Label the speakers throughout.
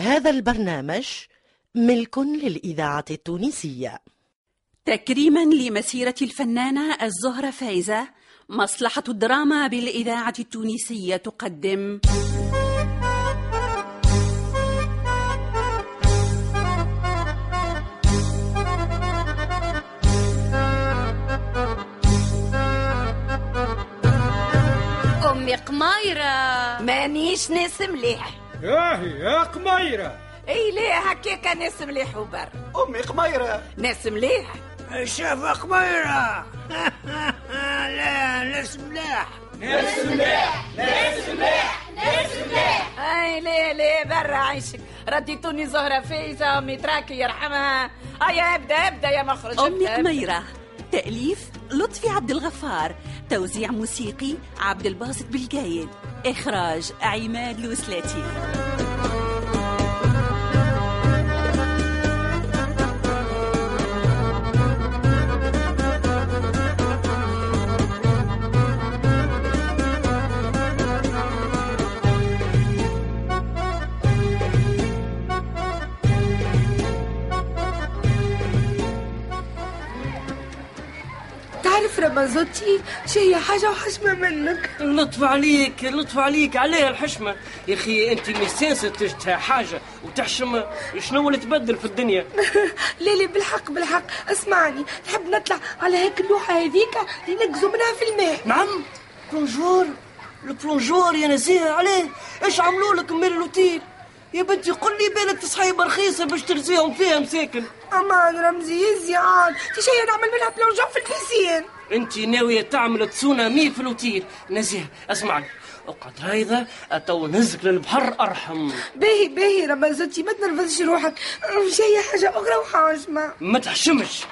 Speaker 1: هذا البرنامج ملك للإذاعة التونسية
Speaker 2: تكريما لمسيرة الفنانة الزهرة فايزة مصلحة الدراما بالإذاعة التونسية تقدم
Speaker 3: أمي قمايرة
Speaker 4: مانيش ناس مليح
Speaker 5: ياهي يا قميرة
Speaker 4: اي ليه هكاك ناس مليح وبر
Speaker 6: أمي قميرة
Speaker 4: ناس مليح
Speaker 7: شاف قميرة لا ناس ملاح
Speaker 4: اي ليه ليه برا عيشك رديتوني زهرة فايزة امي تراكي يرحمها هيا ابدا ابدا يا مخرج
Speaker 2: أمي
Speaker 4: ابدأ، ابدأ.
Speaker 2: قميرة تأليف لطفي عبد الغفار توزيع موسيقي عبد الباسط بالجايد إخراج عماد لوسلاتي
Speaker 8: تعرف رمزوتي شي حاجة وحشمة منك
Speaker 9: لطف عليك لطف عليك عليها الحشمة يا أخي أنت ميسانسة تشتهى حاجة وتحشم شنو اللي تبدل في الدنيا
Speaker 8: ليلي بالحق بالحق اسمعني نحب نطلع على هيك اللوحة هذيك اللي نقزو منها في الماء
Speaker 9: نعم بلونجور البلونجور يا نزيه عليه ايش عملوا لك مير الأوتيل يا بنتي قل لي بالك تصحيب رخيصة باش ترزيهم فيها مساكن
Speaker 8: امان رمزي يزيان تي شي نعمل منها بلونجون في البيسين
Speaker 9: انت ناوية تعمل تسونامي في الأوتيل نزيه اسمعني اقعد هيدا تو نهزك للبحر ارحم
Speaker 8: باهي باهي رمزوتي ما تنرفزش روحك شي حاجة أخرى وحاشمة
Speaker 9: ما تحشمش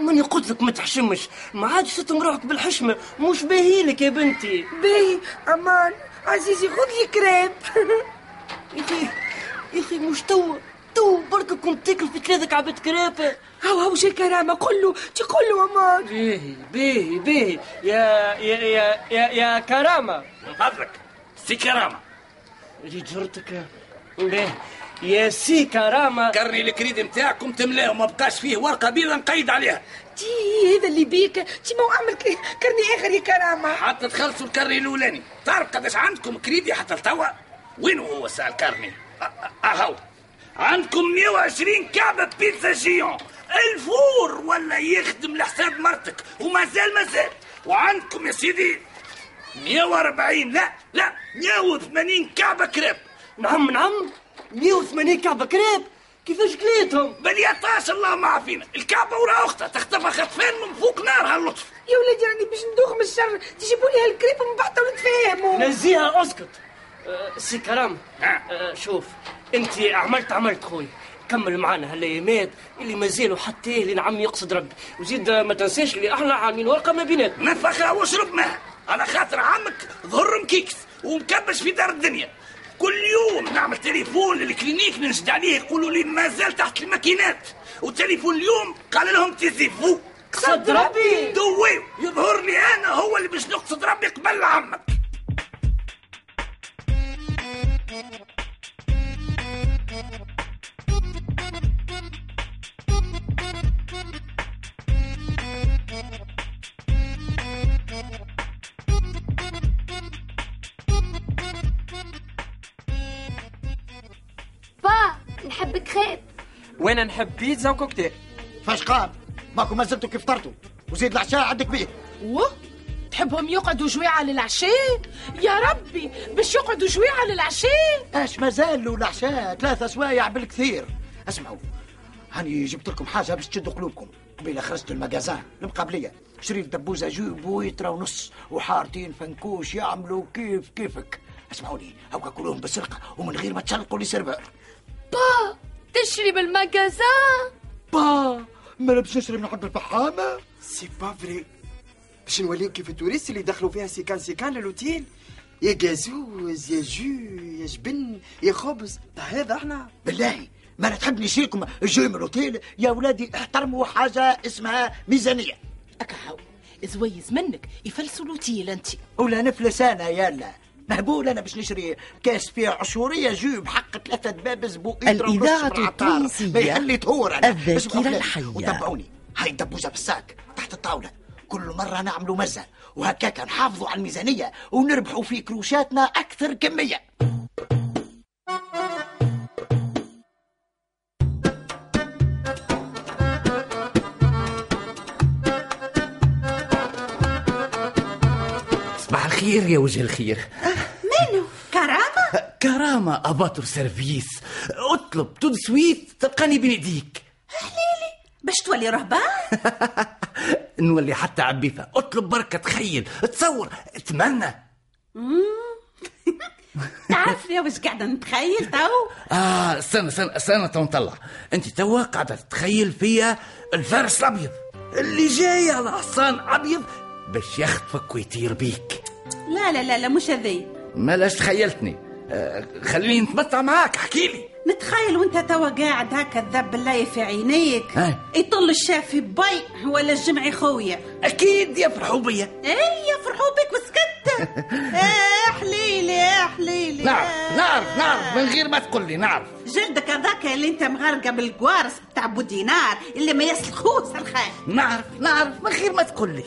Speaker 9: ماني قلت لك ما تحشمش ما عادش تتم روحك بالحشمه مش باهيلك يا بنتي
Speaker 8: باهي امان عزيزي خذ لي كريب
Speaker 9: يا اخي يا اخي مش توا توا بركة كنت تاكل في ثلاثة كعبات كرابة
Speaker 8: هاو هاو شي كرامة قول تي قول امان
Speaker 9: باهي باهي باهي يا يا يا يا, يا كرامة
Speaker 6: من فضلك سي كرامة
Speaker 9: ريت جرتك باهي يا سي كرامة
Speaker 6: كرني الكريد نتاعكم تملاه وما بقاش فيه ورقة بيضة نقيد عليها
Speaker 8: تي هذا اللي بيك تي ما اعمل ك- كرني اخر يا كرامة
Speaker 6: حتى تخلصوا الكرني الأولاني تعرف قداش عندكم كريدي حتى لتوا وين هو ساعة الكرني أهو عندكم 120 كعبة بيتزا جيون الفور ولا يخدم لحساب مرتك ومازال مازال وعندكم يا سيدي 140 لا لا 180 كعبة كريب
Speaker 9: نعم نعم 180 كعبة كراب كيفاش كليتهم
Speaker 6: بل يا طاش الله ما عافينا الكعبة ورا أختها تختفى خطفان من فوق نارها اللطف
Speaker 8: يا ولادي راني باش ندوخ من الشر تجيبوا لي هالكريب ومن بعد تو نتفاهموا
Speaker 9: نزيها اسكت أه، سي كرام أه، شوف انت عملت عملت خويا كمل معانا هالايامات اللي مازالوا حتى إيه لين عم يقصد ربي وزيد ما تنساش اللي احنا عاملين ورقه ما بيناتنا
Speaker 6: نفخها واشرب ماء على خاطر عمك ظهر مكيكس ومكبش في دار الدنيا كل يوم نعمل تليفون للكلينيك ننشد عليه يقولوا لي مازال تحت الماكينات وتليفون اليوم قال لهم تيزيفو
Speaker 9: قصد ربي
Speaker 6: دويو يظهر لي انا هو اللي باش نقصد ربي قبل عمك
Speaker 3: با نحبك خيب
Speaker 10: وانا نحب بيتزا وكوكتيل
Speaker 7: فاش قام ماكو ما زلتوا كيف فطرتوا وزيد العشاء عندك بيه
Speaker 11: وه تحبهم يقعدوا جويعة للعشاء يا ربي باش يقعدوا جويعة للعشاء
Speaker 7: اش مازالوا العشاء ثلاثة سوايع بالكثير اسمعوا هاني جبت لكم حاجة باش تشدوا قلوبكم قبيله خرجت المجازان المقابلية شريت دبوزة جوب ويترا ونص وحارتين فنكوش يعملوا كيف كيفك اسمعوني هاكا كلهم بسرقة ومن غير ما تشلقوا لي سيرفر
Speaker 3: با تشري بالمجازان
Speaker 7: با ما نبش نشرب نحب الفحامة
Speaker 10: سي با فري باش نوليو كيف التوريست اللي دخلوا فيها سيكان سيكان للوتيل يا جازوز يا جو يا جبن يا خبز طيب هذا احنا
Speaker 7: بالله ما انا تحب نشيكم جوي من الاوتيل يا ولادي احترموا حاجه اسمها ميزانيه
Speaker 11: أكهو زويز منك يفلسوا لوتيل انت
Speaker 7: ولا نفلس انا يالا مهبول انا باش نشري كاس فيه عشوريه جو بحق ثلاثه دبابز بوئيد
Speaker 12: الإذاعة
Speaker 7: ما
Speaker 12: التونسية
Speaker 7: يحلي تهور انا
Speaker 12: الذاكرة
Speaker 7: باش نقف لك.
Speaker 12: الحية.
Speaker 7: وتبعوني هاي الدبوزه بالساك تحت الطاوله كل مرة نعملوا مزة وهكاك نحافظوا على الميزانية ونربحوا في كروشاتنا أكثر كمية
Speaker 6: صباح الخير يا وجه الخير
Speaker 2: منو كرامة
Speaker 6: كرامة أباطر سيرفيس اطلب تدسويت تلقاني بين يديك
Speaker 2: باش تولي رهبان
Speaker 6: نولي حتى عبيثة اطلب بركة تخيل تصور اتمنى
Speaker 2: تعرفني واش قاعدة نتخيل تو
Speaker 6: اه استنى استنى استنى تو نطلع انت توا قاعدة تتخيل فيا الفارس الابيض اللي جاي على حصان ابيض باش يخطفك ويطير بيك
Speaker 2: لا لا لا لا مش هذي
Speaker 6: مالاش تخيلتني آه خليني نتمتع معاك احكي لي
Speaker 2: نتخيل وانت توا قاعد هكا الذب الله في عينيك
Speaker 6: أي.
Speaker 2: يطل الشافي بي ولا الجمعي خويا
Speaker 6: اكيد يفرحوا بيا
Speaker 2: اي يفرحوا بك وسكت آه، حليلي يا حليلي
Speaker 6: نعرف نعرف نعرف من غير ما تقول لي نعرف
Speaker 2: جلدك هذاك اللي انت مغرقه بالكوارس بتاع بودينار اللي ما يسلخوش الخير
Speaker 6: نعرف نعرف من غير ما تقول لي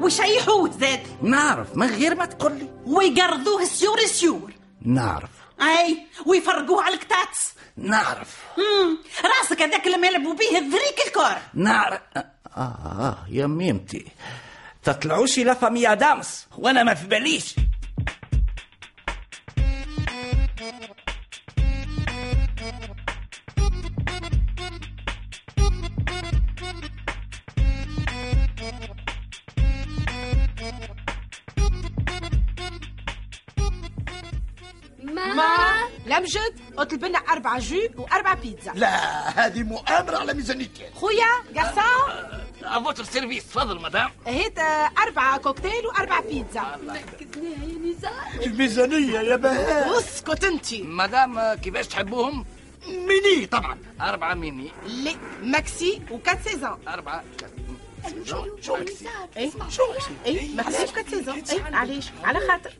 Speaker 2: ويشيحوه زاد
Speaker 6: نعرف من غير ما تقول لي
Speaker 2: ويقرضوه سيور سيور
Speaker 6: نعرف
Speaker 2: اي ويفرقوه على الكتاتس
Speaker 6: نعرف
Speaker 2: مم، راسك هذاك اللي ملبوا به الذريك الكور
Speaker 6: نعرف آه, آه يا ميمتي تطلعوش لا فاميا دامس وانا ما في باليش
Speaker 11: ما لمجد اطلب لنا أربعة جو وأربعة بيتزا
Speaker 7: لا هذه مؤامرة على ميزانيتي
Speaker 11: خويا قرصان
Speaker 6: افوتر سيرفيس تفضل مدام
Speaker 11: هيت آه، أربعة كوكتيل وأربعة بيتزا نكدناها يا نزار
Speaker 6: الميزانية يا
Speaker 11: بهاء. اسكت انت
Speaker 6: مدام آه، كيفاش تحبوهم ميني طبعا أربعة ميني
Speaker 11: لي ماكسي وكات سيزون
Speaker 6: أربعة
Speaker 11: شو ماكسي؟ ايه شو ماكسي؟ ايه ماكسي وكات سيزون ايه علاش؟ على خاطر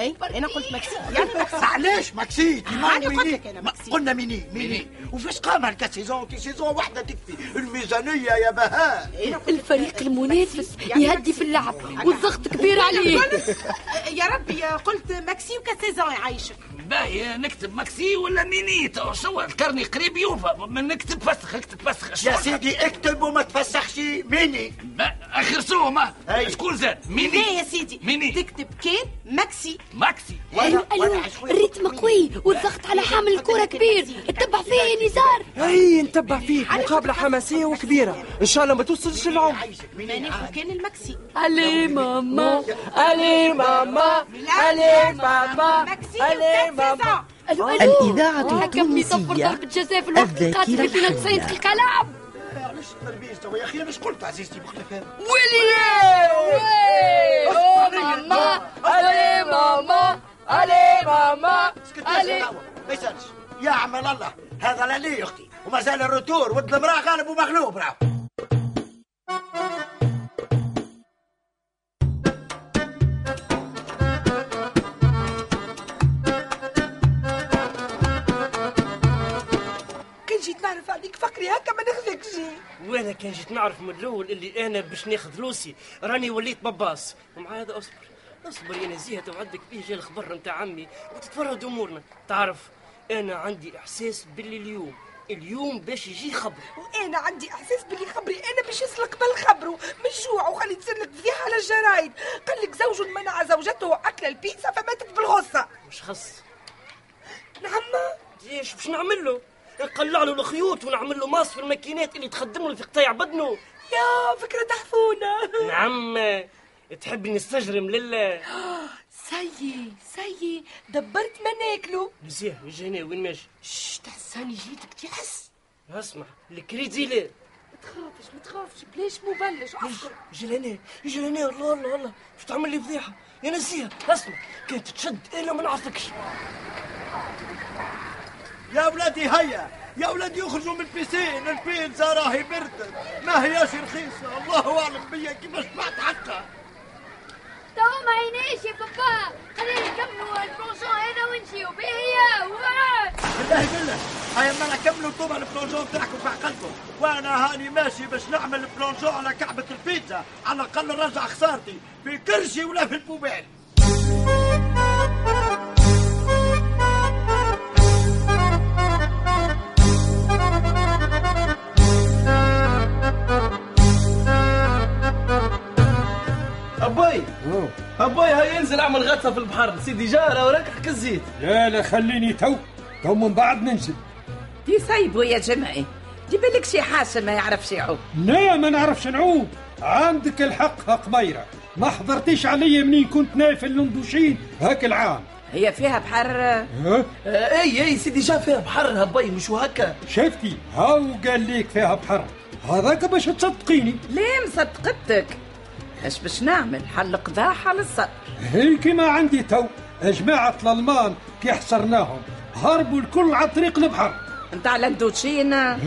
Speaker 11: ايه انا قلت ماكسي يعني ماكسي
Speaker 7: علاش ماكسيت
Speaker 11: هاني قلت لك أنا ماكسي.
Speaker 7: قلنا ميني ميني وفاش قام هالكاسيزون كي سيزون واحدة تكفي الميزانية يا بهاء
Speaker 8: الفريق المنافس يهدي في اللعب والضغط كبير عليه
Speaker 11: يا ربي قلت ماكسي وكات سيزون يعيشك
Speaker 6: باهي نكتب ماكسي ولا ميني تو شو الكرني قريب يوفى من نكتب فسخ اكتب فسخ
Speaker 7: يا سيدي اكتب وما تفسخش ميني
Speaker 6: اخرسوهم ها شكون زاد
Speaker 11: لا
Speaker 2: إيه
Speaker 6: ميني
Speaker 11: يا سيدي
Speaker 6: ميني
Speaker 11: تكتب كان ماكسي
Speaker 6: ماكسي
Speaker 8: الو الو الريتم قوي والضغط على حامل الكرة كبير اتبع فيا يا نزار
Speaker 3: اي نتبع فيك مقابله حماسيه وكبيره ان شاء الله ما توصلش العمر
Speaker 11: ما
Speaker 2: آه.
Speaker 11: ناخذ كان الماكسي
Speaker 3: الي ماما الي ماما الي ماما الي ماما
Speaker 8: الو الو
Speaker 12: الإذاعة
Speaker 8: حكم لي صفر
Speaker 12: التونسية
Speaker 8: ضربة جزاء في الوقت القاتل
Speaker 12: الذاكرة
Speaker 8: اللي فينا
Speaker 12: الحية.
Speaker 8: 90 دقيقة لعب
Speaker 7: علاش التربيز توا يا أخي مش قلت عزيزتي مختفى
Speaker 3: ويلي ماما الي ماما الي ماما
Speaker 7: علي ما يسالش يا عم الله هذا لا لي اختي وما زال الروتور ود المراه غالب ومغلوب راهو
Speaker 8: كان جيت نعرف عليك فقري هكا ما نخلقش
Speaker 9: وانا كان جيت نعرف من الاول اللي انا باش ناخذ لوسي راني وليت بباص ومع هذا اصبر اصبر يا نزيهه تو عندك فيه جا الخبر نتاع عمي وتتفرد امورنا تعرف انا عندي احساس باللي اليوم اليوم باش يجي خبر
Speaker 8: وانا عندي احساس باللي خبري انا باش يسلق بالخبره من جوع وخلي تصير لك فضيحه على الجرايد قال لك زوج منع زوجته اكل البيتزا فماتت بالغصه
Speaker 9: مش خص
Speaker 8: نعم
Speaker 9: ليش باش نعمل له نقلع له الخيوط ونعمل له ماس في الماكينات اللي تخدم له في قطاع بدنه
Speaker 8: يا فكره تحفونه
Speaker 9: نعم تحب نستجرم لله
Speaker 8: سيي سيي دبرت ما ناكلو
Speaker 9: نزيه نجي هنا وين ماشي
Speaker 8: شش تحساني جيتك تحس
Speaker 9: اسمع الكريدي لا
Speaker 8: ما تخافش ما تخافش بلاش مبلش أفكر.
Speaker 9: جلاني جلاني الله الله الله شو تعمل لي فضيحه يا نسيه اسمع كنت تشد انا ما نعرفكش
Speaker 7: يا ولادي هيا يا ولادي يخرجوا من البيسين البيتزا راهي بردت ما هياش رخيصه الله اعلم بيا كيفاش بعت حقها
Speaker 3: توا ما عينيش يا بابا خلينا نكملوا البونجون هذا ونجيو به
Speaker 13: بالله بالله هاي ما نكملوا انتم البلونجون بتاعكم في عقلكم وانا هاني ماشي باش نعمل البلونجون على كعبه البيتزا على الاقل نرجع خسارتي في كرشي ولا في البوبال
Speaker 14: ابوي ابوي هاي انزل اعمل غطسه في البحر سيدي جاره وراك حك الزيت
Speaker 5: لا لا خليني تو تو من بعد ننزل
Speaker 4: دي صايبو يا جمعي دي بالك شي حاسه ما يعرفش يعوم
Speaker 5: لا ما نعرفش نعوم عندك الحق يا قميرة ما حضرتيش عليا منين كنت نايف اللندوشين هاك العام
Speaker 4: هي فيها بحر
Speaker 5: ها؟
Speaker 14: اي اي إيه، سيدي جا فيها بحر هبي مش هكا
Speaker 5: شفتي هاو قال ليك فيها بحر هذاك باش تصدقيني
Speaker 4: ليه مصدقتك اش باش نعمل حل قضاح على الصدر
Speaker 5: هي كيما عندي تو جماعة الألمان كي حصرناهم هربوا الكل على طريق البحر
Speaker 4: نتاع لندوتشين
Speaker 14: اي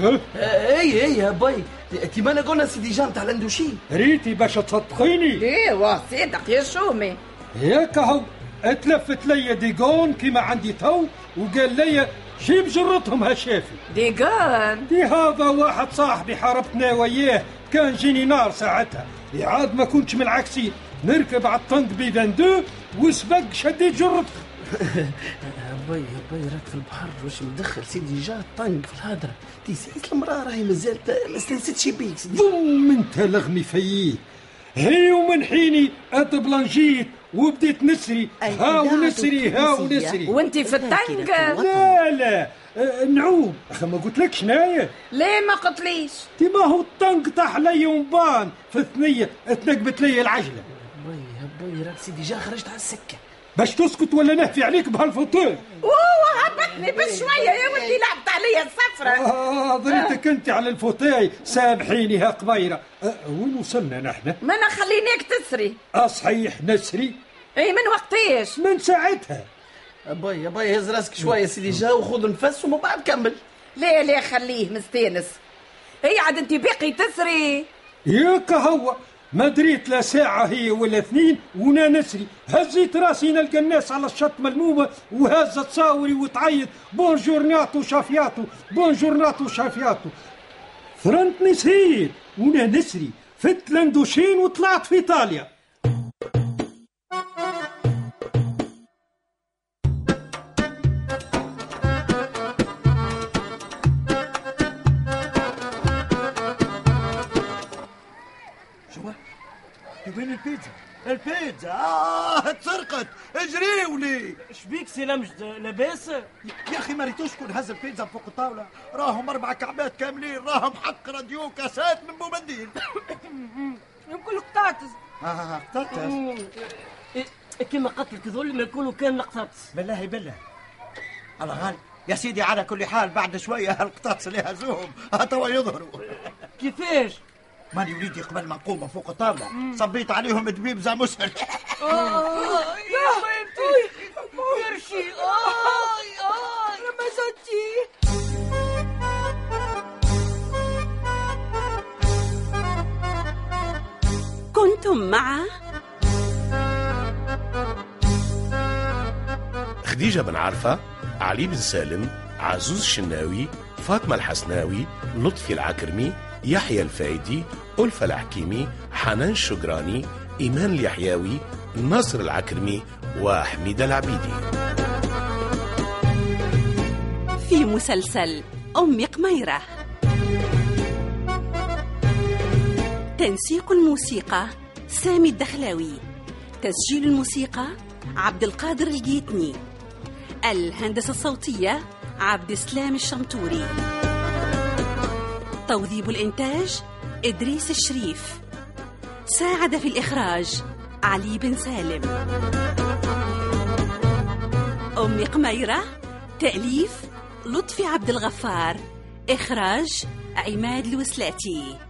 Speaker 14: اي هبي إيه، كيما انا قلنا سيدي جا نتاع الاندوشي
Speaker 5: ريتي باش تصدقيني
Speaker 4: ايوا صدق يا شومي
Speaker 5: ياك هو اتلفت ليا ديغون كيما عندي تو وقال ليا جيب جرتهم هالشافي
Speaker 4: ديغون
Speaker 5: دي هذا واحد صاحبي حاربتنا وياه كان جيني نار ساعتها عاد ما كنتش من العكسين نركب على الطنق بي 22 وسبق شديت جرتك
Speaker 14: هبي هبي راك في البحر واش مدخل سيدي جا طنق في الهدره تيسيس المراه راهي مازال ما استنستش بيك سيدي
Speaker 5: ضم انت لغمي فيه هي ومن حيني اتبلنجيت وبديت نسري ها ونسري ها ونسري
Speaker 4: وانت في الطنق
Speaker 5: لا لا أه، نعوم اخي ما قلت لكش نايا
Speaker 4: ليه ما قلتليش
Speaker 5: تي ما هو الطنق طاح ليا ومبان في الثنيه تنقبت ليا العجله
Speaker 14: هبي هبي راك سيدي جا خرجت على السكه
Speaker 5: باش تسكت ولا نهفي عليك بهالفوتور
Speaker 15: اوه هبطني بشويه يا ولدي لعبت عليا الصفرة
Speaker 5: آه، ضريتك انت على الفوتاي سامحيني ها قبيره أه، وين وصلنا نحن
Speaker 4: ما انا خلينيك تسري
Speaker 5: اصحيح نسري
Speaker 4: اي إيه، من وقتيش
Speaker 5: من ساعتها
Speaker 14: ابي ابي هز راسك شويه سيدي جا وخذ نفس ومن بعد كمل
Speaker 4: ليه ليه خليه مستانس هي عاد انت باقي تسري
Speaker 5: ياك هو ما دريت لا ساعة هي ولا اثنين ونا نسري هزيت راسي نلقى الناس على الشط ملمومة وهزت صاوري وتعيط بونجور ناتو شافياتو بونجور ناتو شافياتو ثرنتني سهيل ونا نسري فت لندوشين وطلعت في ايطاليا
Speaker 7: شو وين البيتزا؟ البيتزا آه اتسرقت اجريوا لي
Speaker 14: شبيك سي لمجد لاباس
Speaker 7: يا اخي ما ريتوش شكون هز البيتزا فوق الطاوله راهم اربع كعبات كاملين راهم حق راديو كاسات من بومنديل
Speaker 8: كل قطاطس
Speaker 7: آه قطعت
Speaker 14: إيه، كيما قتلك ذول ما يكونوا كان القطاطس
Speaker 7: بالله بالله على غالي يا سيدي على كل حال بعد شويه هالقطاطس اللي هزوهم توا يظهروا
Speaker 14: كيفاش؟
Speaker 7: ماني وليدي قبل ما نقوم فوق الطاوله صبيت عليهم دبيبزه مسهل
Speaker 8: يا حبيبتي كرشي اي اي رمزتي
Speaker 2: كنتم مع
Speaker 16: خديجة بن عرفة علي بن سالم عزوز الشناوي فاطمة الحسناوي لطفي العكرمي يحيى الفايدي ألفة الحكيمي حنان الشجراني إيمان اليحياوي ناصر العكرمي وحميدة العبيدي
Speaker 2: في مسلسل أم قميرة تنسيق الموسيقى سامي الدخلاوي تسجيل الموسيقى عبد القادر الجيتني الهندسة الصوتية عبد السلام الشمتوري توظيب الإنتاج إدريس الشريف ساعد في الإخراج علي بن سالم أم قميرة تأليف لطفي عبد الغفار إخراج عماد الوسلاتي